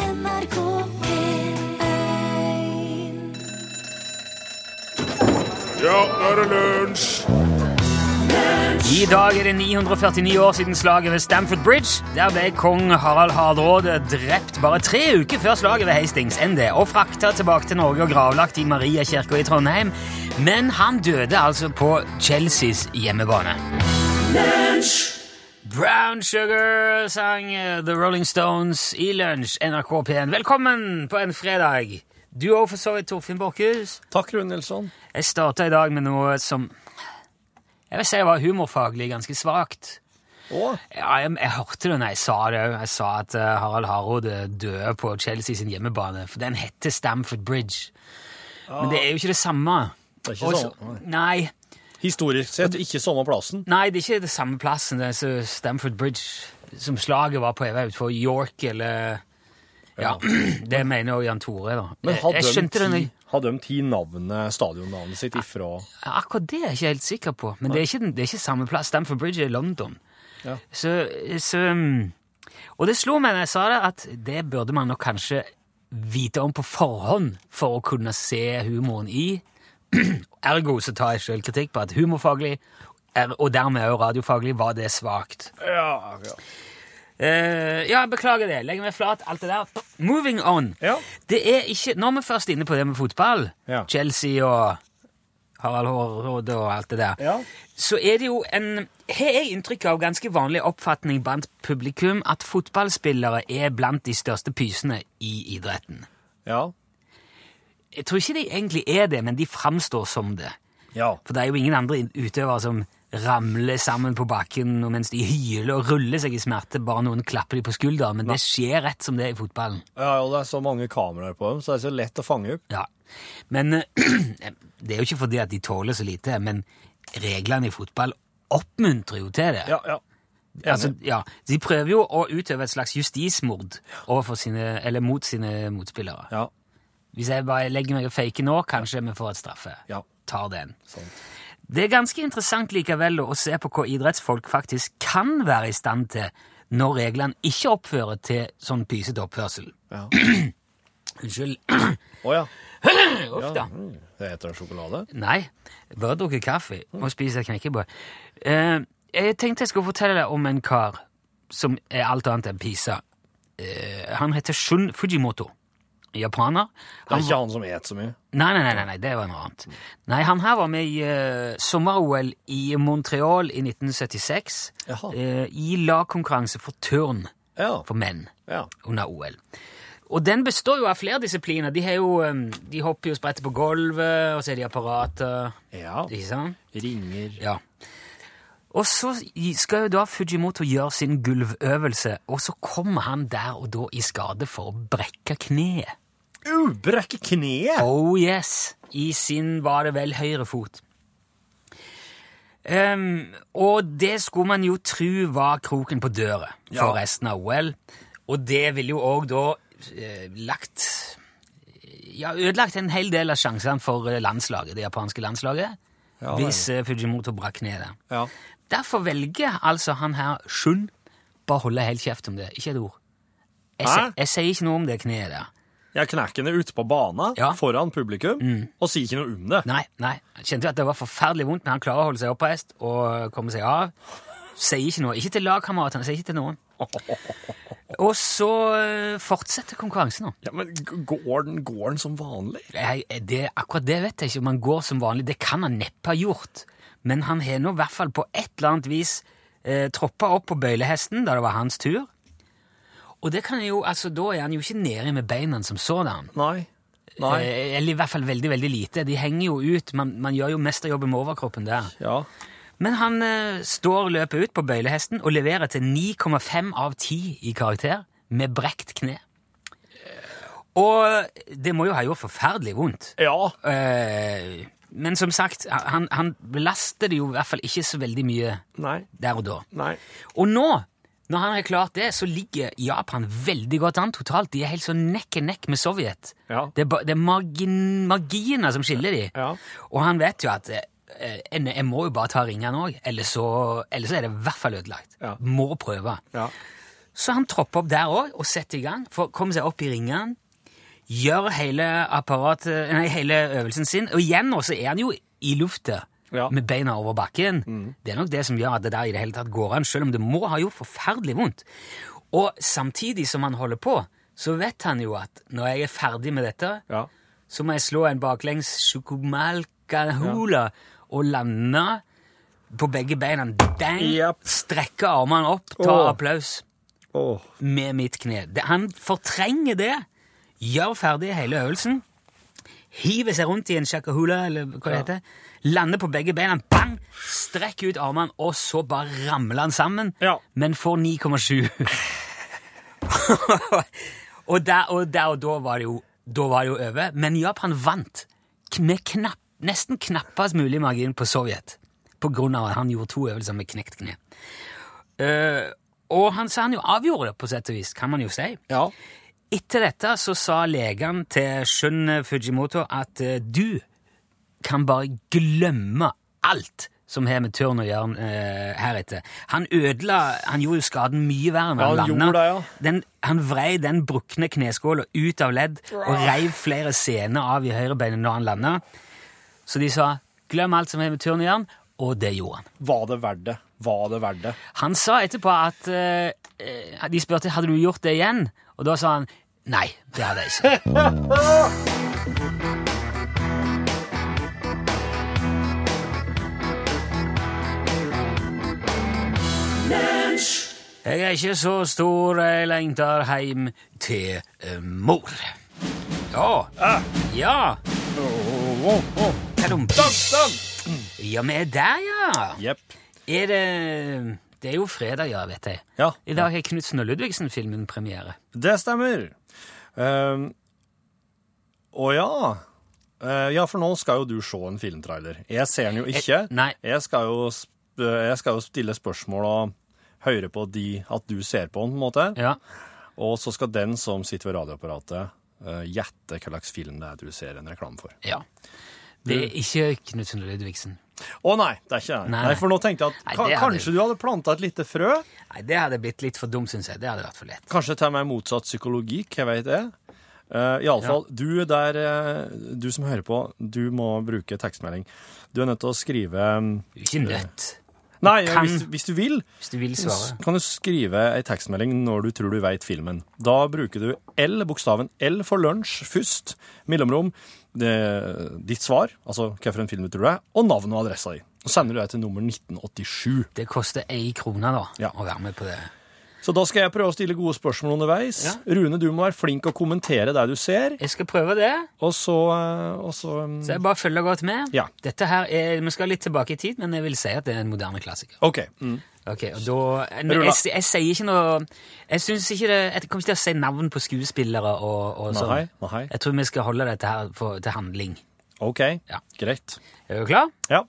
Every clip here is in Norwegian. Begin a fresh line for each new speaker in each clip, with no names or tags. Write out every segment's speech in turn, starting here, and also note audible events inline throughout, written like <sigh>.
NRK P1
Ja, nå er det lunsj!
I dag er det 949 år siden slaget ved Stamford Bridge. Der ble kong Harald Hardråde drept bare tre uker før slaget ved Hastings ND og frakta tilbake til Norge og gravlagt i Mariakirka i Trondheim. Men han døde altså på Chelseas hjemmebane. Brown Sugar sang eh, The Rolling Stones i lunsj, NRK P1. Velkommen på en fredag. Du òg, for så vidt, Torfinn Borchhus.
Takk, Rune Nilsson.
Jeg starta i dag med noe som Jeg vil si var humorfaglig ganske svakt.
Og
Ja, jeg, jeg hørte det når jeg sa det òg. Jeg sa at eh, Harald Hardråde døde på Chelsea sin hjemmebane, for den heter Stamford Bridge. Men det er jo ikke det samme.
det er ikke sånn,
Og så-
samme.
nei,
Historisk sett ikke samme plassen.
nei, det er ikke det samme plassen. Det er så Stamford Bridge som slaget var på jeg vet, for York eller Ja, <clears throat> det mener jo Jan Tore, da.
Men
Jeg-
hadde
jeg skjønte det når
de
jeg-
ti, hadde de ti navnet, stadionnavnet sitt ifra
Akkurat det er jeg ikke helt sikker på, men det er ikke, den- det er ikke samme plass. Stamford Bridge er i London.
Ja.
Så, så mm, Og det slo meg når jeg sa det, at det burde man nok kanskje vite om på forhånd for å kunne se humoren i. <clears throat> Ergo så tar jeg selvkritikk på at humorfaglig, er- og dermed også radiofaglig, var det svakt.
Ja, ja.
Eh, ja, beklager det. Legger meg flat, alt det der. Moving on.
Ja.
Det er ikke, Når vi først er inne på det med fotball,
Ja.
Chelsea og Harald Hårråde og alt det der,
Ja.
så er det jo en Har jeg inntrykk av ganske vanlig oppfatning blant publikum at fotballspillere er blant de største pysene i idretten.
ja.
Jeg tror ikke de egentlig er det, men de framstår som det.
ja.
For det er jo ingen andre in- utøvere som ramler sammen på bakken og mens de hyler og ruller seg i smerte. Bare noen klapper de på skulderen, men det skjer rett som det er i fotballen.
Ja, og det er så mange kameraer på dem, så det er så lett å fange opp.
Ja. Men eh, <clears throat> det er jo ikke fordi at de tåler så lite, men reglene i fotball oppmuntrer jo til det.
Ja, ja.
Altså, ja, de prøver jo å utøve et slags justismord overfor sine, eller mot sine motspillere.
Ja,
Hvis jeg bare legger meg og faker nå, kanskje vi får et straffe.
Ja.
Tar den.
sant.
Det er ganske interessant likevel å se på hva idrettsfolk faktisk kan være i stand til når reglene ikke oppfører til sånn pysete oppførsel.
Ja.
<clears throat> Unnskyld. <clears throat>
Å ja.
Uff da.
Mm. Det heter sjokolade.
Nei, bare drukke kaffe og spise knekkebrød. Eh, jeg tenkte jeg skulle fortelle deg om en kar som er alt annet enn pisa. Eh, han heter Shun Fujimoto. Japaner.
Det
Han
er ikke han som et så mye.
Nei, nei, nei, nei, nei, det var noe annet. Nei, han her var med i eh, sommer-OL i Montreal i 1976.
Jaha.
eh, I lagkonkurranse for turn
Ja.
for menn
ja.
under OL. Og den består jo av flere disipliner. De, har jo, eh, de hopper jo spretter på gulvet, og så er de apparater.
ja.
Ikke sant?
Ringer.
Ja. Og så skal jo da Fujimoto gjøre sin gulvøvelse, og så kommer han der og da i skade for å brekke kneet.
Uh, brekke kneet!
Oh yes! I sin var det vel høyre fot. Ehm, og det skulle man jo tro var kroken på døra for
Ja.
resten av OL. Og det ville jo òg da eh, lagt Ja, ødelagt en hel del av sjansene for eh, landslaget, det japanske landslaget,
Ja,
hvis eh, Fujimoto brakk kneet der.
Ja.
Derfor velger altså han her Shun Bare holde helt kjeft om det. Ikke et ord. Jeg,
Hæ?
sier- jeg sier ikke noe om det kneet der.
Jeg knekker henne ute på bana
Ja. Mm.
foran publikum og sier ikke noe om det.
Nei, nei. Jeg kjente jo at det var forferdelig vondt, men han klarer å holde seg oppreist og komme seg av. Sier ikke noe. Ikke til lagkameratene, sier ikke til noen. Og så eh, fortsetter konkurransen nå.
Ja, men g- går den, går den som vanlig?
Jeg, det, akkurat det vet jeg ikke om han går som vanlig. Det kan han neppe ha gjort. Men han har nå i hvert fall på et eller annet vis eh, troppa opp på bøylehesten da det var hans tur. Og det kan jo, altså, da er han jo ikke nedi med beina som sådan.
Nei. Nei.
Eh, Eller i hvert fall veldig, veldig lite. De henger jo ut. Man, man gjør jo mesterjobben med overkroppen der.
Ja.
Men han eh, står løpet ut på bøylehesten og leverer til 9,5 av 10 i karakter med brekt kne. Og det må jo ha gjort forferdelig vondt.
Ja.
Eh, men som sagt, han, han belaster det jo i hvert fall ikke så veldig mye
Nei.
der og da.
Nei.
Og nå, når han har klart det, så ligger Japan veldig godt an totalt. De er helt sånn nekk i nekk med Sovjet.
Ja.
Det er, ba- det er margin, marginer som skiller de.
Ja.
Og han vet jo at eh, eh, jeg må jo bare ta ringene òg, ellers, så- ellers så er det i hvert fall ødelagt.
Ja.
Må prøve.
Ja.
Så han tropper opp der òg og setter i gang. får- Kommer seg opp i ringene. Gjør hele, apparatet, nei, hele øvelsen sin. Og igjen nå så er han jo i lufta.
Ja. Mm.
Med beina over bakken. Det er nok det som gjør at det der i det hele tatt går an, selv om det må ha gjort forferdelig vondt. Og samtidig som han holder på, så vet han jo at når jeg er ferdig med dette,
Ja.
så må jeg slå en baklengs sjukumalkahula og lande på begge beina. Dang!
Japp.
Strekke armene opp, ta
Åh.
applaus
Åh.
med mitt kne. Det, han fortrenger det, gjør ferdig hele øvelsen, hiver seg rundt i en shakahula, eller hva det heter, lander på begge beina, bang, strekker ut armene, og så bare ramler han sammen,
Ja.
men får 9,7. <laughs> og, der, og der og da var det jo, da var det jo over, men Japan vant k- med knapp, nesten knappest mulig margin på Sovjet, på grunn av at han gjorde to øvelser med knekt kne. Eh, og han sa han jo avgjorde det, på sett og vis, kan man jo si.
Ja.
Etter dette så sa legen til Shun Fujimoto at eh, du kan bare glemme alt som har med turn å gjøre eh, heretter. Han ødela Han gjorde jo skaden mye verre når
Ja,
han
han
landa.
gjorde det, ja.
Den, han vrei den brukne kneskåla ut av ledd og reiv flere sener av i høyrebeinet når han landa. Så de sa 'glem alt som har med turn å gjøre', og det gjorde han.
Var det verdt det? Var det verdt det?
Han sa etterpå at eh, eh, De spurte hadde du gjort det igjen, og da sa han nei, det hadde jeg ikke. Jeg er ikke så stor, jeg lengter heim til eh, mor. Ja. Ja. Kadum. Ja, vi er der, ja.
Jepp.
Er det Det er jo fredag, ja, vet jeg.
Ja.
I dag har Knutsen og Ludvigsen-filmen premiere.
Det stemmer. Ehm, Å ja. Eh, ja, for nå skal jo du se en filmtrailer. Jeg ser den jo ikke.
Eh, nei.
Jeg skal jo, sp- eh, jeg skal jo stille spørsmål og høre på de at du ser på den, på en måte.
Ja.
Og så skal den som sitter ved radioapparatet, eh, gjette hva slags film det er du ser en reklame for.
ja. Det er ikke Knutsen og Ludvigsen.
Å nei, det er ikke det.
Nei,
Nei,
nei.
for nå tenkte jeg at
Nei,
ka
det hadde-
kanskje du hadde planta et lite frø?
Nei, det hadde blitt litt for dumt, syns jeg. Det hadde vært for lett.
Kanskje til og med motsatt psykologi, hva vet jeg. Uh, Iallfall, du der, eh, du som hører på, du må bruke tekstmelding. Du er nødt til å skrive mm,
Du er ikke nødt,
Nei,
kan-
hvis, hvis du vil,
hvis du vil
s-
svare.
kan du skrive ei tekstmelding når du tror du veit filmen. Da bruker du L, bokstaven L for lunsj først, mellomrom, det, ditt svar, altså hvilken film du tror det er, og navnet og adressa di. Så sender du det til nummer 1987.
Det koster ei krone, da,
Ja.
å være med på det.
Så da skal jeg prøve å stille gode spørsmål underveis. Rune, du må være flink å kommentere det du ser.
Jeg skal prøve det,
Og så, eh, og så um,
så jeg bare følger godt med.
Ja.
Dette her er, Vi skal litt tilbake i tid, men jeg vil si at det er en moderne klassiker.
OK.
Mm. Ok, og da men jeg, jeg, sier ikke noe Jeg synes ikke det Jeg kommer ikke til å si navn på skuespillere og, og sånn.
Nei, nei.
Jeg tror vi skal holde dette her for, til handling.
ok,
Ja.
Greit.
Er du klar?
Ja.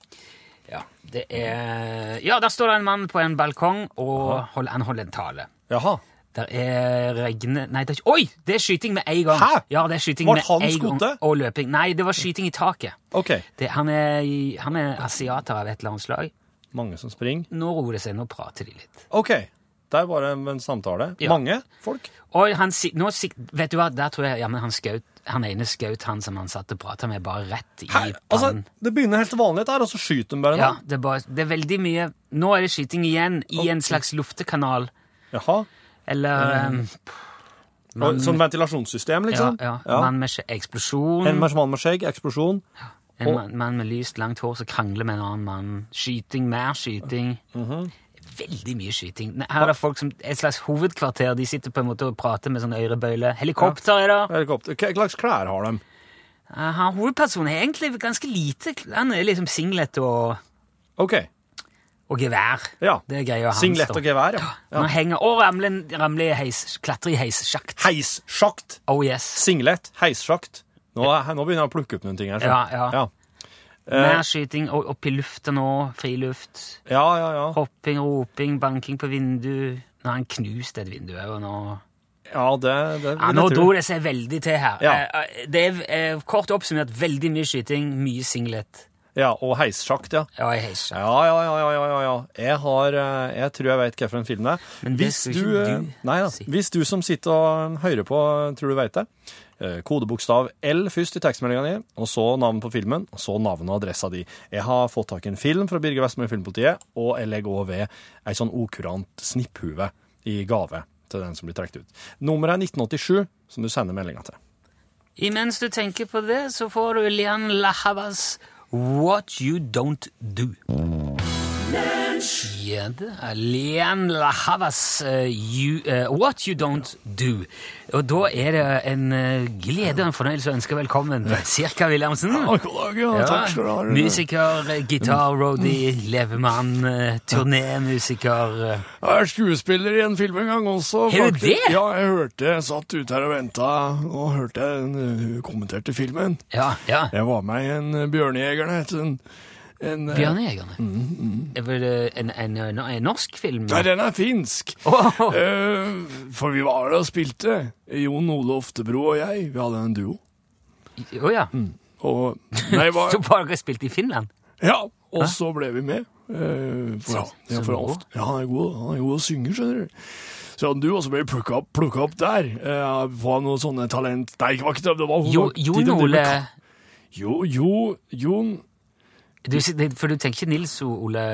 Ja. Det er Ja, der står det en mann på en balkong, og hold, han holder en tale.
Jaha.
Der er regne... Nei, det er ikke Oi! Det er skyting med en gang.
Hæ?
Ja, det er skyting
Var
med
han
en
skutt?
gang. Og løping. Nei, det var skyting i taket.
OK.
Det, han, er, i- han er asiater av et eller annet slag.
Mange som springer.
Nå roer det seg. Nå prater de litt.
OK. Der var det en- en samtale.
Ja.
Mange folk.
Og han, si- nå, sik- vet du hva, der tror jeg ja, men han, skaut, han ene skaut han som han satt og prata med, bare rett i
Her,
pannen.
altså, det begynner helt vanlig der, og så skyter de bare
ja,
nå.
det, er bare, det er veldig mye Nå er det skyting igjen, i en slags luftekanal.
Jaha.
Eller eh,
Og, sånn ventilasjonssystem,
ja,
liksom?
ja, mann med skje- eksplosjon.
En mann med skjegg, eksplosjon.
en mann, mann med lyst, langt hår som krangler med en annen mann. Skyting, mer skyting.
Mhm.
Veldig mye skyting. Nei, Her er det folk som et slags hovedkvarter. De sitter på en måte og prater med sånn ørebøyle. Helikopter er det.
Helikopter. Hva slags klær har de?
Eh, Han hovedpersonen er egentlig ganske lite. Han er liksom singlet og
OK.
Og gevær.
Ja.
Det greier hans.
Singlet
da.
og gevær, ja.
Man henger og ramler, ramler i heis, klatrer i heissjakt.
Heissjakt!
Oh yes.
Singlet, heissjakt. Nå, er- nå begynner jeg å plukke opp noen ting her. så.
Ja, ja.
ja. Eh.
Mer skyting og opp i lufta nå. Friluft.
Ja, ja, ja.
Hopping, roping, banking på vindu. Nå har han knust et vindu òg, og nå
Ja, det, det
ja,
vil
Nå
jeg tro.
dro det seg veldig til her.
Ja.
Eh, eh, Det er eh, kort oppsummert veldig mye skyting, mye singlet.
Ja, og heissjakt, ja.
Ja, jeg heiser.
Ja, ja, ja, ja, ja, ja, ja. Jeg har eh, Jeg tror jeg vet hvilken film det er.
Men det
Hvis
skal ikke
eh,
du
Nei da.
si.
Hvis du som sitter og hører på, tror du vet det. eh, Kodebokstav L først i tekstmeldinga di, og så navnet på filmen, og så navnet og adressa di. Jeg har fått tak i en film fra Birger Vestmø i Filmpolitiet, og jeg legger òg ved ei sånn okurant snipphue i gave til den som blir trukket ut. Nummeret er 1987, som du sender meldinga til.
Imens du tenker på det, så får du Lian Lahavas What You Don't Do. Ja, det er Lian Lahavas eh, you, eh, What You Don't Do. Og da er det en eh, glede og en fornøyelse å ønske velkommen Cirka Williamsen. Ja, musiker, eh, gitar, roadie, levemann, eh, turnémusiker. eh.
Jeg er skuespiller i en film en gang også.
Er du
faktisk.
det?
Ja, jeg hørte, jeg satt ute her og venta, og hørte jeg den eh, kommenterte filmen.
Ja, ja.
Jeg var med i en eh, Bjørnejeger, det het en, en eh,
Bjørnejegerne. Er vel eh, en, en, en, en norsk film?
mm. Nei, den er finsk.
Åh.
Eh, for vi var der og spilte. Jon Ole Oftebro og jeg, vi hadde en duo.
Å ja.
Mm. Og,
<laughs>
nei, hva,
Så bare dere spilte i Finland?
ja, og så ble vi med. Eh, for, ja, ja,
så
for
bra.
ofte. Ja, han er god, han er god å synge, skjønner du. Så hadde du også ble plukket opp, plukket opp der. Eh, på noen sånne talent... Nei, det var ikke det. det var,
Jo,
de- de-
Jon
de-
Ole
Jo, jo, Jon...
du, sier- For du tenker ikke Nils O. Ole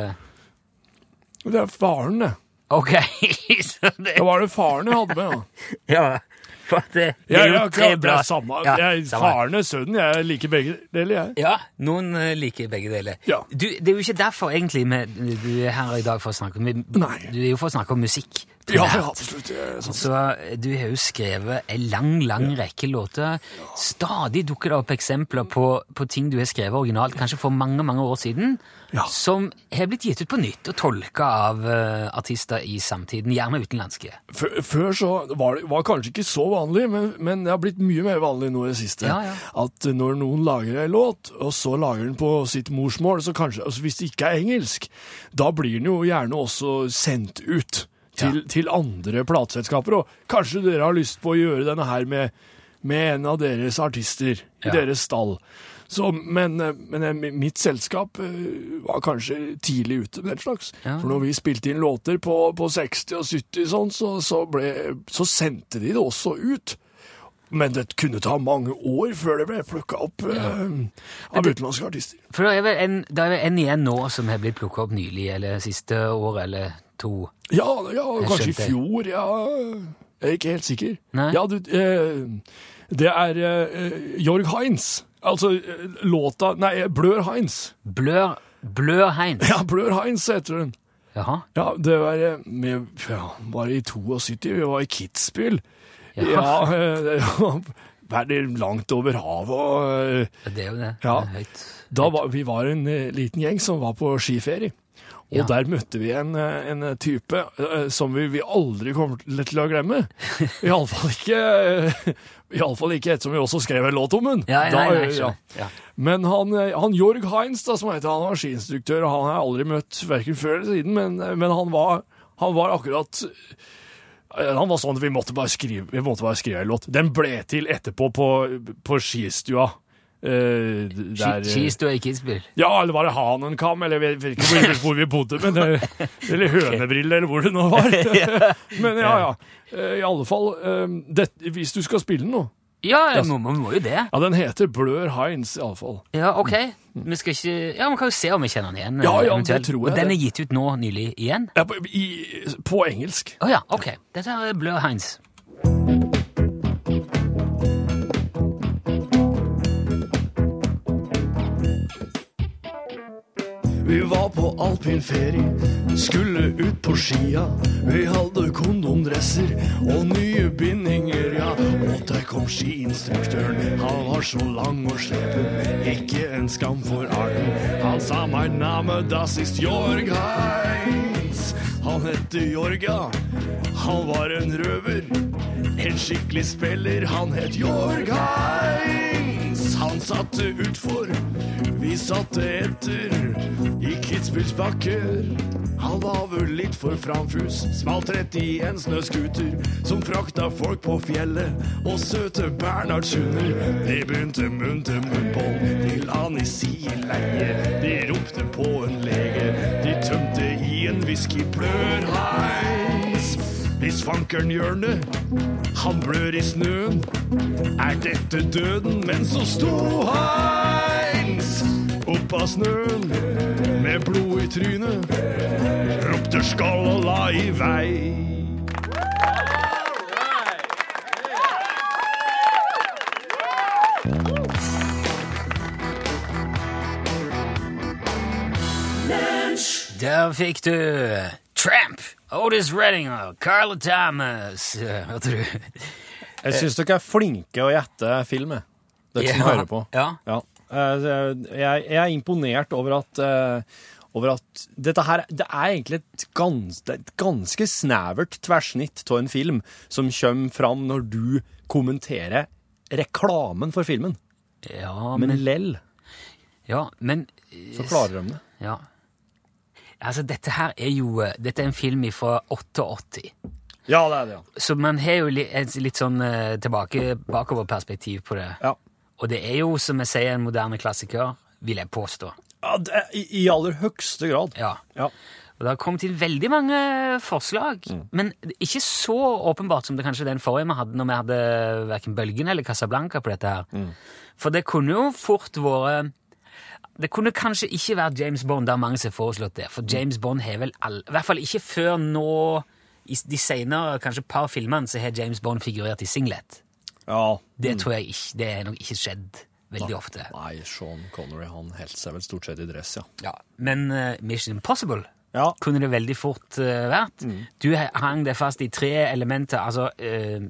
Det er faren, det.
Ok, <laughs> så det
Det var det faren jeg hadde med, ja.
<laughs> Ja. For det, det
Ja,
er
ja,
jo tre
akkurat, det
blad.
er samme.
Ja,
Jeg,
samme.
faren og sønnen, jeg liker begge deler, jeg.
Ja, noen eh, liker begge deler.
Ja.
Du, det er jo ikke derfor egentlig med, du er her i dag for å snakke om
Nei.
Du er jo for å snakke om musikk.
Ja,
primært.
ja, absolutt. jeg- sånn.
Så eh, du har jo skrevet en lang, lang rekke låter. Stadig dukker det opp eksempler på, på ting du har skrevet originalt, kanskje for mange, mange år siden,
Ja.
som har blitt gitt ut på nytt og tolka av eh, artister i samtiden, gjerne utenlandske.
Før, før så var det var kanskje ikke så vanlig, men, men det har blitt mye mer vanlig nå i det siste.
Ja, ja.
At når noen lager en låt, og så lager den på sitt morsmål, så kanskje, altså hvis det ikke er engelsk, da blir den jo gjerne også sendt ut til, til andre plateselskaper. Og kanskje dere har lyst på å gjøre denne her med, med en av deres artister i
Ja.
deres stall. Så, men, eh, men eh, mitt selskap eh, var kanskje tidlig ute med den slags.
Ja.
For når vi spilte inn låter på, på 60- og 70 sånn, så, så, ble, så sendte de det også ut. Men det kunne ta mange år før det ble plukka opp eh, av utenlandske artister.
For det er vel en, det er vel en igjen nå som har blitt plukka opp nylig, eller siste år eller to.
Ja, ja kanskje i
skjønte.
fjor. Ja. Jeg er ikke helt sikker.
Nei.
Ja, du, eh, det er eh, Jorg Heinz. Altså eh, låta Nei, Blør Heinz.
Blør, blør Heinz.
<laughs> Ja, Blør Heinz heter den.
Jaha.
Ja, det var eh, vi ja, var i 72, vi var i Kitzbühel.
Ja.
Ja, eh, <laughs> det var veldig langt over havet. Og, eh,
Det er jo det.
Ja.
Det er høyt.
da var, vi var en eh, liten gjeng som var på skiferie. Og
Ja.
der møtte vi en, eh, en type eh, som vi, vi aldri kommer til- til å glemme.
<laughs>
Iallfall ikke, eh, i alle fall ikke ettersom vi også skrev en låt om den.
Ja, nei,
Da,
nei,
eh, ja.
skjønner. Ja.
Men han, eh, han Jorg Heinz, da, som heter, han var skiinstruktør, og han har jeg aldri møtt hverken før eller siden, men, eh, men han, var, han var akkurat han var sånn at vi måtte bare skrive, vi måtte bare skrive en låt. Den ble til etterpå på, på skistua. Eh, der,
Ski- Skistua i Kitzbühel.
ja, eller var det Hanenkam, eller jeg vet ikke hvor, hvor vi bodde, men det, eller Hønebrille, eller hvor det nå var. Men <laughs> ja, ja. Eh, I alle fall, eh, det, hvis du skal spille den nå,
Ja, ja, man, man må jo det.
ja, den heter Blør Heinz i alle fall.
Ja, ok. Vi skal ikke... Ja, man kan jo se om vi kjenner den igjen.
Ja, ja,
eventuelt.
det tror jeg
Og den
det.
er gitt ut nå nylig igjen?
Ja, på, i, på engelsk.
Å ja, ok. Dette er Blør Heinz.
Vi var på alpinferie, skulle ut på skia. Vi hadde kondomdresser og nye bindinger, ja. Og der kom skiinstruktøren, han var så lang og slepen. Ikke en skam for arten. Han sa mein name, das ist Jorg Heinz. Han heter Jorg, ja. Han var en røver. En skikkelig spiller, han het Jorg Heinz. Han satte utfor, vi satte etter i Kitzbühels bakker. Han var vel litt for framfus, smalt rett i en snøskuter som frakta folk på fjellet og søte bernhardshunder. De begynte munn til munn-bånd til han i sin leie. De ropte på en lege, de tømte i en whiskyplørheis. Hvis fankeren hjørnet, han blør i snøen. Er dette døden? Men så sto Heinz opp av snøen med blod i trynet. Ropte skål og la i vei.
Der fikk du Tramp, Otis Redding og Carla Thomas, eh, hørte du?
Jeg syns dere er flinke å gjette film, jeg. dere som
Ja,
hører på.
ja.
Eh, Jeg, jeg er imponert over at, eh, over at dette her Det er egentlig et, gans, det er et ganske snevert tverrsnitt av en film som kommer fram når du kommenterer reklamen for filmen.
Ja,
Men
men,
lell,
ja, men
så klarer de det.
Ja. Altså, dette her er jo eh, Dette er en film fra 88.
Ja, det er det, ja.
Så man har jo litt, et litt sånn eh, tilbake, bakoverperspektiv på det.
Ja,
Og det er jo, som jeg sier, en moderne klassiker, vil jeg påstå.
det er, i, I aller høyeste grad.
Ja.
Ja.
Og det har kommet inn veldig mange eh, forslag, men ikke så åpenbart som det kanskje den forrige vi hadde, når vi hadde hverken Bølgen eller Casablanca på dette her. For det kunne jo fort vært eh, Det kunne kanskje ikke vært James Bond, der mange som har foreslått det. For James Bond har vel all, I hvert fall ikke før nå, i s- de senere kanskje par filmene, så har James Bond figurert i singlet.
Ja.
Det tror jeg ikke, det er nok ikke skjedd veldig ofte.
Mm. Nei, Sean Connery han holder seg vel stort sett i dress, ja.
Ja. Men eh, Mission Impossible
Ja.
kunne det veldig fort eh, vært.
Mm.
Du he- hang deg fast i tre elementer, altså eh,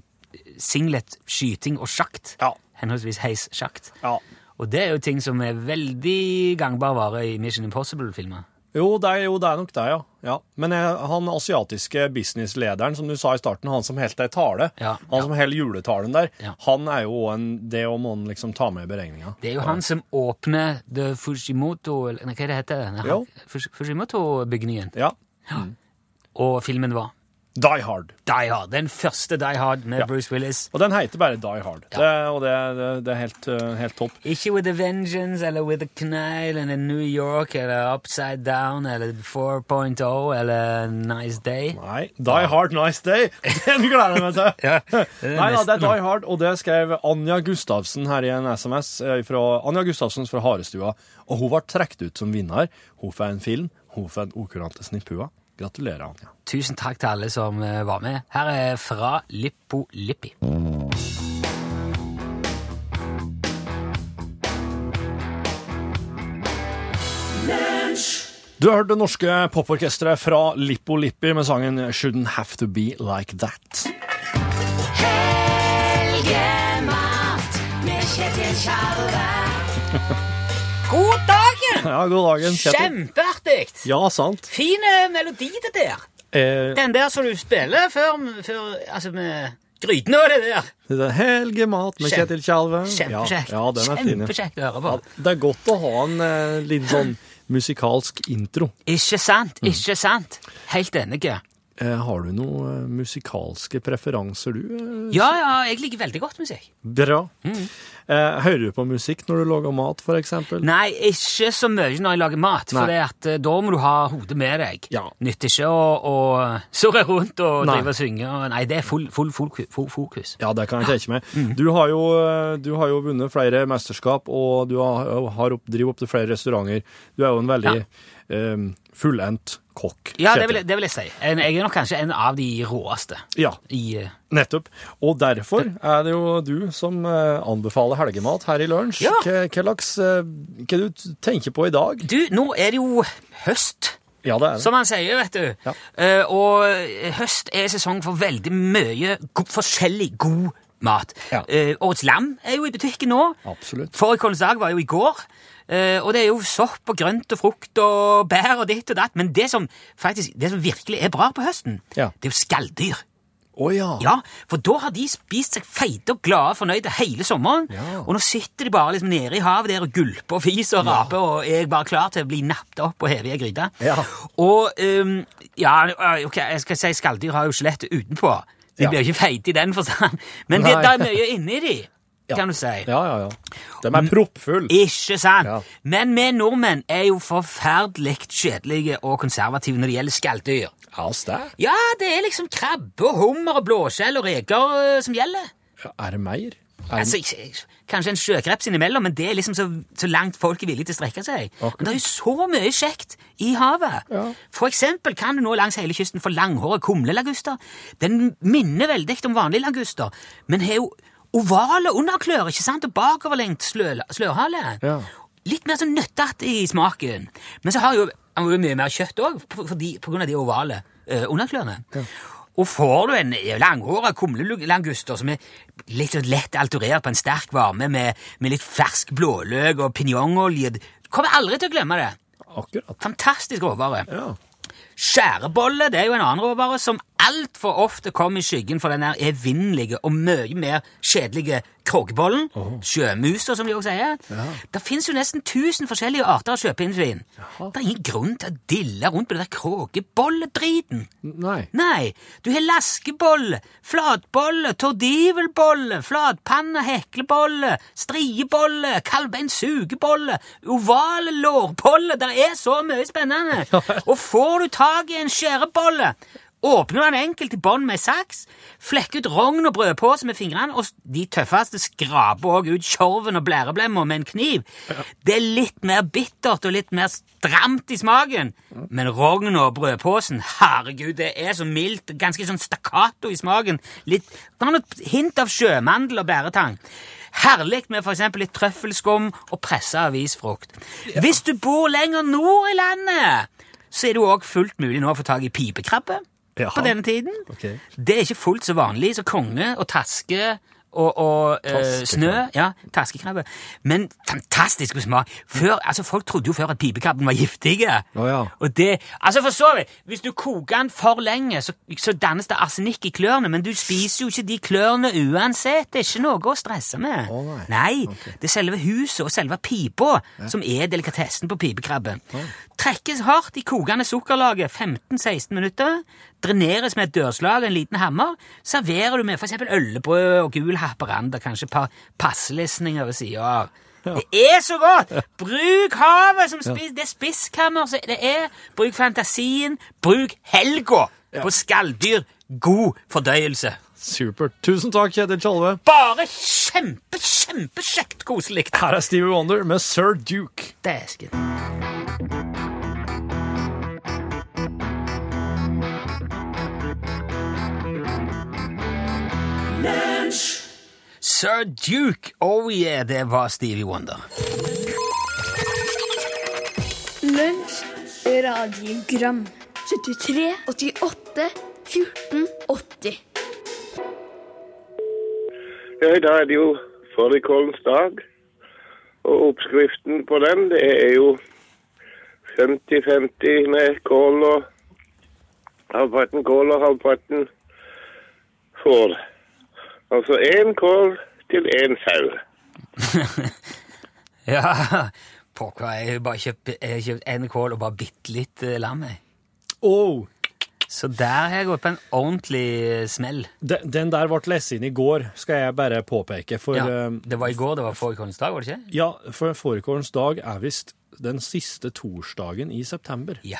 singlet, skyting og sjakt.
Ja.
Henholdsvis heissjakt.
ja.
Og det er jo ting som er veldig gangbar vare i Mission Impossible-filmer.
Jo det, er, jo, det er nok det, ja. ja. Men jeg, han asiatiske businesslederen som du sa i starten, han som holdt ei tale,
Ja,
han som holder juletalen der,
Ja.
han er jo også en Det må man liksom ta med i beregninga.
Det er jo han som åpner The Fushimoto eller, nei, Hva er det heter det?
Jo.
Fushimoto-bygningen.
Ja.
Og filmen var
Die Hard.
Die Hard. Den første Die Hard med
Ja.
Bruce Willis.
Og den heter bare Die Hard. Det, og det, det, det er helt, eh, helt topp.
Ikke With a Vengeance eller With a Knife eller New York eller Upside Down eller 4.0 eller Nice Day.
Nei, Die Hard Nice Day! <laughs> Den gleder jeg meg til!
Ja, det er
<laughs> Nei da, det
nesten
er Die Hard, og det skrev Anja Gustavsen her i en SMS. eh, Fra, Anja Gustavsen fra Harestua, og hun ble trukket ut som vinner. Hun får en film, hun får en okurante snippua. Gratulerer, Anja.
Tusen takk til alle som eh, var med. Her er fra Lippo Lippi.
Du har hørt det norske poporkesteret fra Lippo Lippi med sangen Shouldn't Have To Be Like That.
Helgemat med Kjetil Tjalve.
God dagen!
Ja, god dagen. Kjetil.
Kjempeartig!
Ja, sant.
Fin melodi det der.
Eh,
Den der som du spiller før, før altså med grytene og det der.
det er Helgemat med
Kjem-
Kjetil Tjalve. Mm. Ja,
Kjempekjekt.
ja, den er fin. ja.
Kjempekjekt å høre på.
Ja, det er godt å ha en eh, litt sånn musikalsk intro.
Ikke sant, ikke sant. Helt enig.
Eh, har du noen eh, musikalske preferanser, du? eh?
Ja, ja, jeg liker veldig godt musikk.
Bra. Eh, hører du på musikk når du lager mat, for eksempel?
Nei, ikke så mye når jeg lager mat, for
Nei.
det at, eh, da må du ha hodet med deg.
Ja.
Nytter ikke å, å surre rundt og
Nei.
drive og synge. og- Nei, det er full, full, foku- full fokus.
Ja, det kan jeg tenke meg. Du har jo, eh, du har jo vunnet flere mesterskap, og du har, eh, har opp, driver opp til flere restauranter. Du er jo en veldig eh, fullendt kokk.
Ja, det
Kjetil.
vil, jeg- det vil jeg si. En- Jeg er nok kanskje en av de råeste.
Ja,
I, eh,
nettopp. Og derfor er det jo du som eh, anbefaler helgemat her i lunsj.
Ja.
Hva hva slags eh, Hva du t- tenker på i dag?
du, nå er det jo høst.
Ja, det er det.
Som han sier, vet du.
Ja.
Eh, og høst er sesong for veldig mye go forskjellig god mat.
Ja.
Eh, årets lam er jo i butikken nå.
Absolutt.
Fårikålens dag var jo i går. Eh, og det er jo sopp og grønt og frukt og bær og ditt og datt. Men det som faktisk, det som virkelig er bra på høsten,
Ja.
det er jo skalldyr.
Å ja.
Ja, for da har de spist seg feite og glade fornøyde hele sommeren. Og nå sitter de bare liksom nede i havet der og gulper og fiser og raper og er bare klar til å bli nappet opp og hevet i ei gryte.
Ja.
Og ehm, ja, ok, jeg skal si skalldyr har jo skjelettet utenpå. De
Ja.
blir jo ikke feite i den forstand, men det,
Nei.
det er mye inni de, kan du si.
Ja, ja, ja. De er proppfulle.
Ikke sant?
Ja.
Men vi nordmenn er jo forferdelig kjedelige og konservative når det gjelder skalldyr.
Ja, stæ.
Ja, det er liksom krabbe, og hummer, og blåskjell og reker eh, som gjelder.
Ja, er det mer? Er
Altså, ikke- ikke- kanskje en sjøkreps innimellom, men det er liksom så, så langt folk er villige til å strekke seg.
Akkurat.
Men Det er jo så mye kjekt i havet.
Ja.
For eksempel kan du nå langs hele kysten få langhåret kumlelaguster. Den minner veldig om vanlige laguster, men har jo ovale underklør, ikke sant, og bakoverlengt slø, slørhale.
Ja.
Litt mer sånn nøttete i smaken. Men så har jo han har jo mye mer kjøtt òg, på, fordi- på grunn av de ovale eh, underklørne. Og får du en langhåra kumlelanguster som er litt sånn lett alturert på en sterk varme med, med litt fersk blåløk og pinjongolje Du kommer aldri til å glemme det.
Akkurat.
Fantastisk råvare.
Ja.
Skjærebolle det er jo en annen råvare som altfor ofte kommer i skyggen for den der evinnelige og mye mer kjedelige kråkebollen. Sjømusa, som de også sier. Det fins jo nesten 1000 forskjellige arter å kjøpe inn svin. Det er ingen grunn til å dille rundt på den der kråkebolledriten.
Nei.
Nei, du har laskebolle, flatbolle, tordivelbolle, flatpanne, heklebolle, striebolle, kalvbein sugebolle, ovale lårbolle, det er så mye spennende. Og får du tak i en skjærebolle, åpner du den enkelt i bånn med saks, flekker ut rogn og brødpose med fingrene, og s- de tøffeste skraper også ut kjorven og blæreblemmer med en kniv. Det er litt mer bittert og litt mer stramt i smaken, men rogn og brødposen, herregud, det er så mildt, ganske sånn stakkato i smaken, litt, det har noe hint av sjømandel og bæretang. Herlig med for eksempel litt trøffelskum og presset avisfrukt. Hvis du bor lenger nord i landet, så er det jo også fullt mulig nå å få tag i pipekrabbe
Ja.
på denne tiden.
Ok.
Det er ikke fullt så vanlig så konge og taske og, og eh,
Taskekrabbe.
snø. Ja, taskekrabbe. Men fantastisk god smak. Før, altså, folk trodde jo før at pipekrabben var giftige.
Å ja.
Og det, altså for så vidt, Hvis du koker den for lenge, så, så dannes det arsenikk i klørne, men du spiser jo ikke de klørne uansett. Det er ikke noe å stresse med.
Å, nei.
Det er selve huset og selve pipa som er delikatessen på pipekrabben. Trekkes hardt i kokende sukkerlaget 15-16 minutter, dreneres med et dørslag og en liten hammer, serverer du med f.eks. øllebrød og gul haparanda, kanskje et par passlesninger ved sida av. Det er så godt! Bruk havet som spis, det er spiskammer som det er. Bruk fantasien. Bruk helga på skalldyr. God fordøyelse.
Supert. Tusen takk, Kjetil Tjalve.
Bare kjempe, kjempekjekt koselig.
Her er Stevie Wonder med Sir Duke.
Dæsken. Sir Duke, oh yeah, det var Stevie Wonder.
Lunsj, radiogram 73, 88, 14, 80
Ja, i dag er det jo fårikålens dag. Og oppskriften på den, det er jo 50-50 med kål og halvparten kål og halvparten får. Altså én kål til én sau.
<laughs> Ja, pokker, jeg har bare kjøpt, jeg har kjøpt en kål og bare bitte litt eh, lam. jeg.
Oh.
Så der har jeg gått på en ordentlig eh, smell.
Den, den der ble lest inn i går, skal jeg bare påpeke. For, eh,
Ja,
ja.
det var i går, det var forrige konsdag, var det ikke?
Ja, for Fårikålens dag er visst den siste torsdagen i september.
Ja.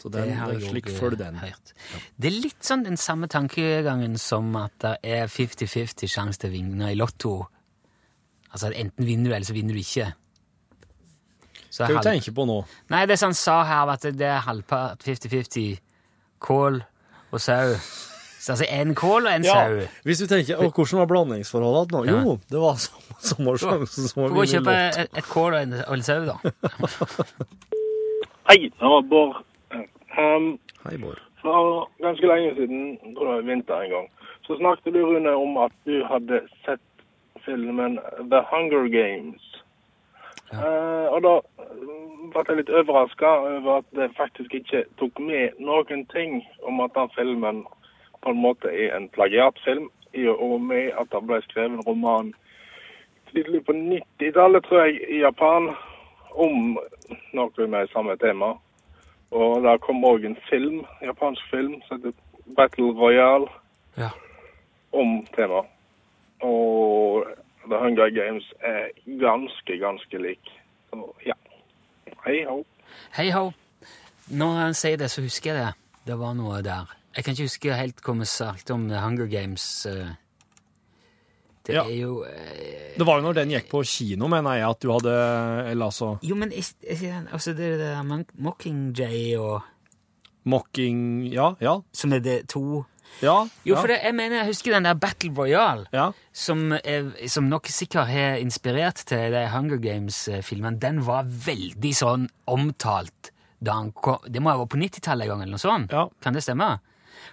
Så den,
har
det
jeg
er slik
også
følg den.
hørt. Det er litt sånn den samme tankegangen som at det er 50-50 sjanse til å vinne i Lotto. Altså at enten vinner du, eller så vinner du ikke. Så
Hva
halv-
tenker du på nå?
Nei, det som han sa her, at det er halvpart 50-50 kål og sau. Så altså én kål og én sau.
<laughs> Hvis du tenker, og hvordan var blandingsforholdet nå? Jo, det var som, som var sjansen som
Få
var
gå og
vinner
kjøpe
lott.
et, et kål og en, og en
<laughs>
sau, da.
Hei, det var Bård. Um,
Hei, Bård.
for ganske lenge siden, jeg tror det var i vinter en gang, så snakket du, Rune, om at du hadde sett filmen The Hunger Games. Eh, og da mm, ble jeg litt overraska over at det faktisk ikke tok med noen ting om at den filmen på en måte er en plagiatfilm, i og med at det ble skrevet en roman tidlig på 90-tallet, tror jeg, i Japan, om noe med samme tema. Og det kom òg en film, japansk film, som heter Battle Royale,
Ja.
om temaet. Og The Hunger Games er ganske, ganske lik. Så ja. Hei ho.
Hei ho. Når han sier det, så husker jeg det. Det var noe der. Jeg kan ikke huske helt hva vi snakket om The Hunger Games. eh. Det
Ja.
er jo eh,
Det var jo når den gikk på kino, mener jeg, at du hadde Eller altså
Jo, men is- is- altså, det er det der Mon- Mockingjay og
Mocking Ja, ja.
Som er det to
Ja.
Jo,
ja,
for det, jeg mener jeg husker den der Battle Royale,
Ja.
som, er, som nok sikkert har inspirert til de Hunger Games-filmene. Den var veldig sånn omtalt da han kom Det må ha vært på 90-tallet en gang, eller noe sånt?
Ja.
Kan det stemme?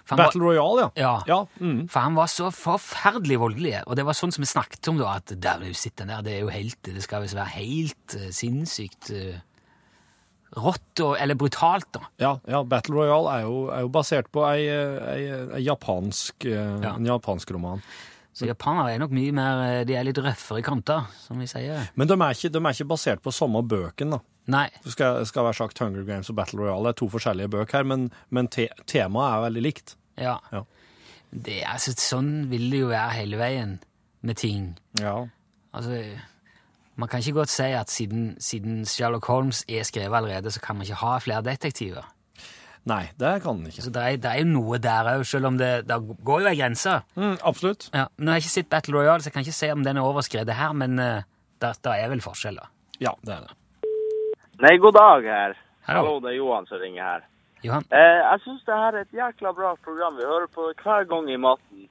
For han var-
Battle Royale, ja.
Ja.
ja. Mm.
For han var så forferdelig voldelig, og det var sånn som vi snakket om da, at der du sitter den der, det er jo helt, det skal visst være helt eh, sinnssykt eh, rått, og, eller brutalt da.
ja, ja. Battle Royale er jo, er jo basert på ei, eh, ei, ei japansk, eh,
Ja.
en japansk roman. Mm.
Så japanere er nok mye mer, eh, de er litt røffere i kanter, som vi sier.
Men de er ikke, de er ikke basert på samme bøken, da.
Nei,
Det skal, skal være sagt Hunger Games og Battle Royale er to forskjellige bøker her, men, men te, temaet er veldig likt.
ja.
Ja.
Det, altså, sånn vil det jo være hele veien med ting.
Ja.
Altså, man kan ikke godt si at siden, siden Sherlock Holmes er skrevet allerede, så kan man ikke ha flere detektiver.
Nei, det kan den ikke.
Så det er, det er jo noe der òg, selv om det, det går jo ei grense.
Mm, absolutt.
Ja, nå har jeg ikke sett Battle Royale, så jeg kan ikke se om den er overskredet her, men eh, der, der er vel forskjeller.
Ja, det er det.
Nei, god dag her.
Hallo.
Hallo, det er Johan som ringer her.
Johan?
Eh, jeg syns det her er et jækla bra program. Vi hører på det hver gang i maten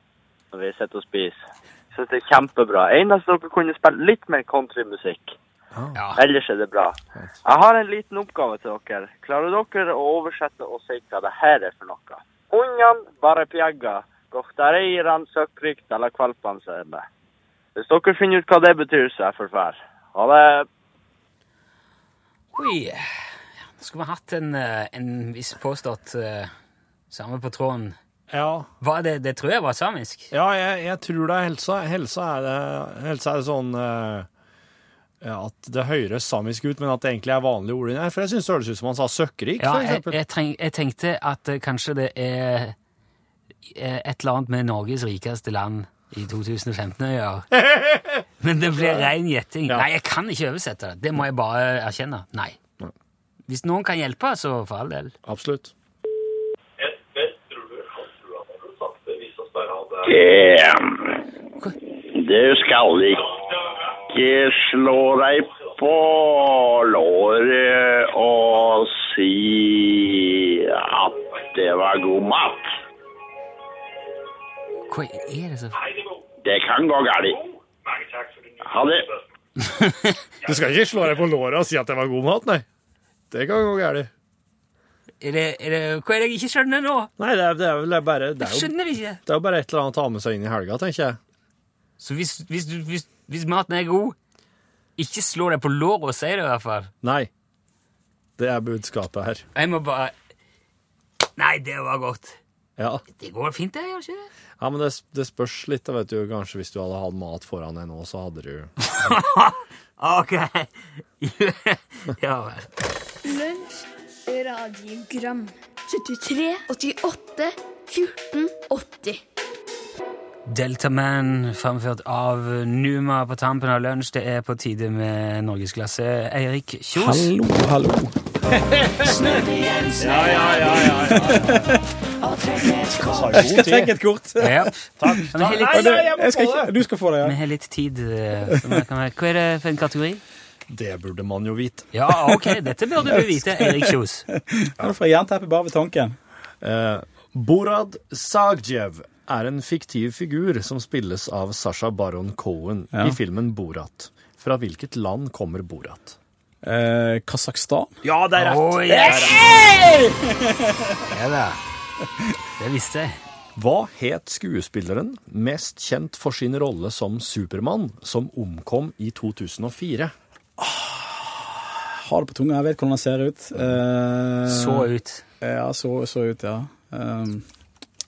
når vi sitter og spiser. Jeg syns det er kjempebra. Eneste dere kunne spille litt mer countrymusikk.
Ja.
Ellers er det bra. Jeg har en liten oppgave til dere. Klarer dere å oversette og si hva det her er for noe? Unnan bare pjegga, gohtareiran søkkrykt eller kvalpansene. Hvis dere finner ut hva det betyr, så er jeg forferd. Ha det.
Oi. Nå skulle vi hatt en, eh, en viss påstått eh, same på tråden.
Ja,
Hva er det, det tror jeg var samisk.
ja jeg, jeg tror det er helsa. Helsa er det, helsa er det sånn eh, at det høres samisk ut, men at det egentlig er vanlige ord. Nei, for jeg syns det høres ut som han sa søkkrik,
Ja,
for
jeg,
eksempel.
jeg, treng, jeg tenkte at eh, kanskje det er eh, et eller annet med Norges rikeste land i 2015 å
<laughs>
gjøre. Men det blir rein gjetting.
Ja.
Nei, jeg kan ikke oversette det. Det må jeg bare erkjenne. Nei.
Nei.
Hvis noen kan hjelpe, så for all del.
Absolutt.
Du skal ikke slå deg på låret og si at det var god mat.
Hva er det så
Det kan gå galt. Ha det.
Du skal ikke slå deg på låret og si at det var god mat, nei. Det kan gå galt.
Er det, er det, hva er det jeg ikke skjønner nå?
Nei, det er, det er vel bare det
Jeg
er, jo,
skjønner det ikke.
det er jo bare et eller annet å ha med seg inn i helga, tenker jeg.
Så hvis, hvis, du- hvis, hvis maten er god, ikke slå deg på låret og si det i hvert fall.
Nei. Det er budskapet her.
Jeg må bare Nei, det var godt.
Ja.
Det går fint, det, gjør ikke det?
Ja, men det, det spørs litt, da, vet du. Kanskje hvis du hadde hatt mat foran deg nå, så hadde du
Ok. <laughs> ja vel.
Lunsj, radiogram 73, 88, 14, 80
Deltaman framført av Numa på tampen av lunsj. Det er på tide med norgesklasse. Eirik Kjos.
hallo.
<laughs> Jeg skal trekke et kort.
Ja. Takk. Vi har litt,
Jeg skal ikke, du skal få det.
vi har litt tid. eh, som jeg kan være- Hva er det for en kategori?
<laughs> Det burde man jo vite.
Ja, ok, dette burde du vite, Erik Kjos.
Ja. Du får jernteppe bare ved tanken.
Eh, Borad Sagjev er en fiktiv figur som spilles av Sasha Baron Cohen i filmen Borat. Fra hvilket land kommer Borat?
Eh, Kasakhstan?
Ja, det
Oh, yes. Ja da. Det visste jeg.
Hva het skuespilleren mest kjent for sin rolle som Supermann, som omkom i 2004?
Har det på tunga, jeg vet hvordan den ser ut. Eh,
Så ut.
Ja, så, så ut, ja. Um,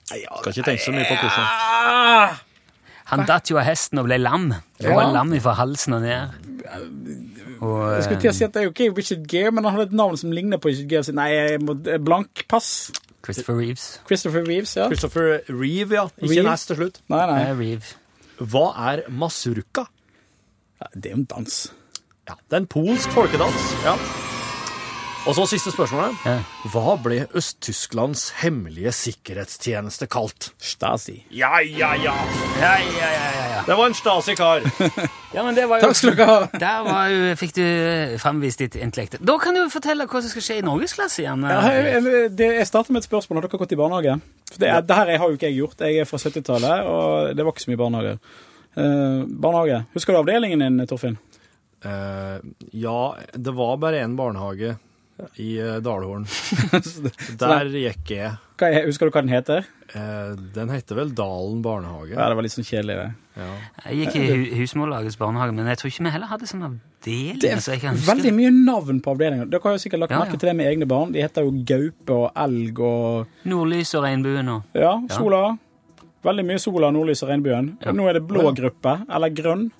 Skal ikke tenke så mye på hvordan.
Han datt jo av hesten og ble lam. Han var lam fra halsen og ned. Og, eh,
Jeg skulle til å si at det er ok, Richard Gere, men han hadde et navn som ligner på Richard Gere. Så nei, jeg må, blank pass.
eh, Christopher Reeves.
Christopher Reeves, ja.
Christopher Reeve, ja. Ikke
Reeve.
en S til slutt.
Nei, nei.
Eh, Reeve.
Hva er masurka?
Ja, Det er jo en dans.
Ja, det er en polsk folkedans. Ja. Og så siste spørsmålet.
Ja.
Hva ble Øst-Tysklands hemmelige sikkerhetstjeneste kalt?
Stasi.
Ja, ja, ja.
Ja, ja, ja, ja, ja.
Det var en Stasi-kar.
ja, men det var jo
Takk skal dere ha.
Der var jo, fikk du fremvist ditt intellekt. Da kan du fortelle hva som skal skje i norgesklasse igjen. eh.
Ja, jeg, jeg, det, jeg starter med et spørsmål. Har dere gått i barnehage? For det, er, det her har jo ikke jeg gjort. Jeg er fra 70-tallet, og det var ikke så mye barnehage. Eh, barnehage. Husker du avdelingen din, Torfinn?
<laughs> Eh, ja, det var bare en barnehage i eh, Dalhorn. Der gikk jeg.
Hva er, husker du hva den heter?
Eh, den heter vel Dalen barnehage.
Ja, det var litt sånn kjedelig. det.
Jeg gikk i hu- Husmorlagets barnehage, men jeg tror ikke vi heller hadde sånn avdeling.
Det
så jeg
er
kan huske
veldig mye navn på avdelingen. Dere har jo sikkert lagt
Ja, ja.
merke til det med egne barn. De heter jo gaupe og elg og
Nordlys og regnbuen og
Ja, sola. Veldig mye sola, nordlys og regnbuen.
Ja.
Nå er det blå gruppe, eller grønn.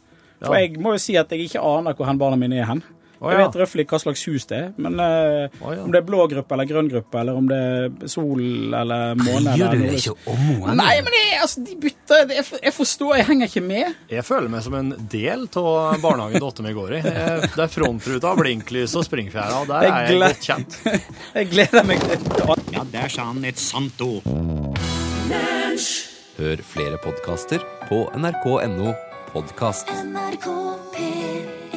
For
Ja.
jeg må jo si at jeg ikke aner hvor hen barna mine er hen.
Å,
Jeg
ja.
vet røftlig hva slags hus det er, men eh,
Å, ja.
om det er blå gruppe eller grønn gruppe, eller om det er sol eller måne
Gjør
eller
du
noe-
ikke om henne?
Nei, men jeg, altså, de bytter jeg, jeg forstår, jeg henger ikke med.
Jeg føler meg som en del av barnehagen dotter mi går i. Eh, Det er frontruta, blinklys og springfjæra. og Der
Jeg
er jeg
gled-
godt kjent.
Jeg gleder meg til
Ja, der sa han et sant ord.
Hør flere podkaster på nrk.no podkast.
NRK P3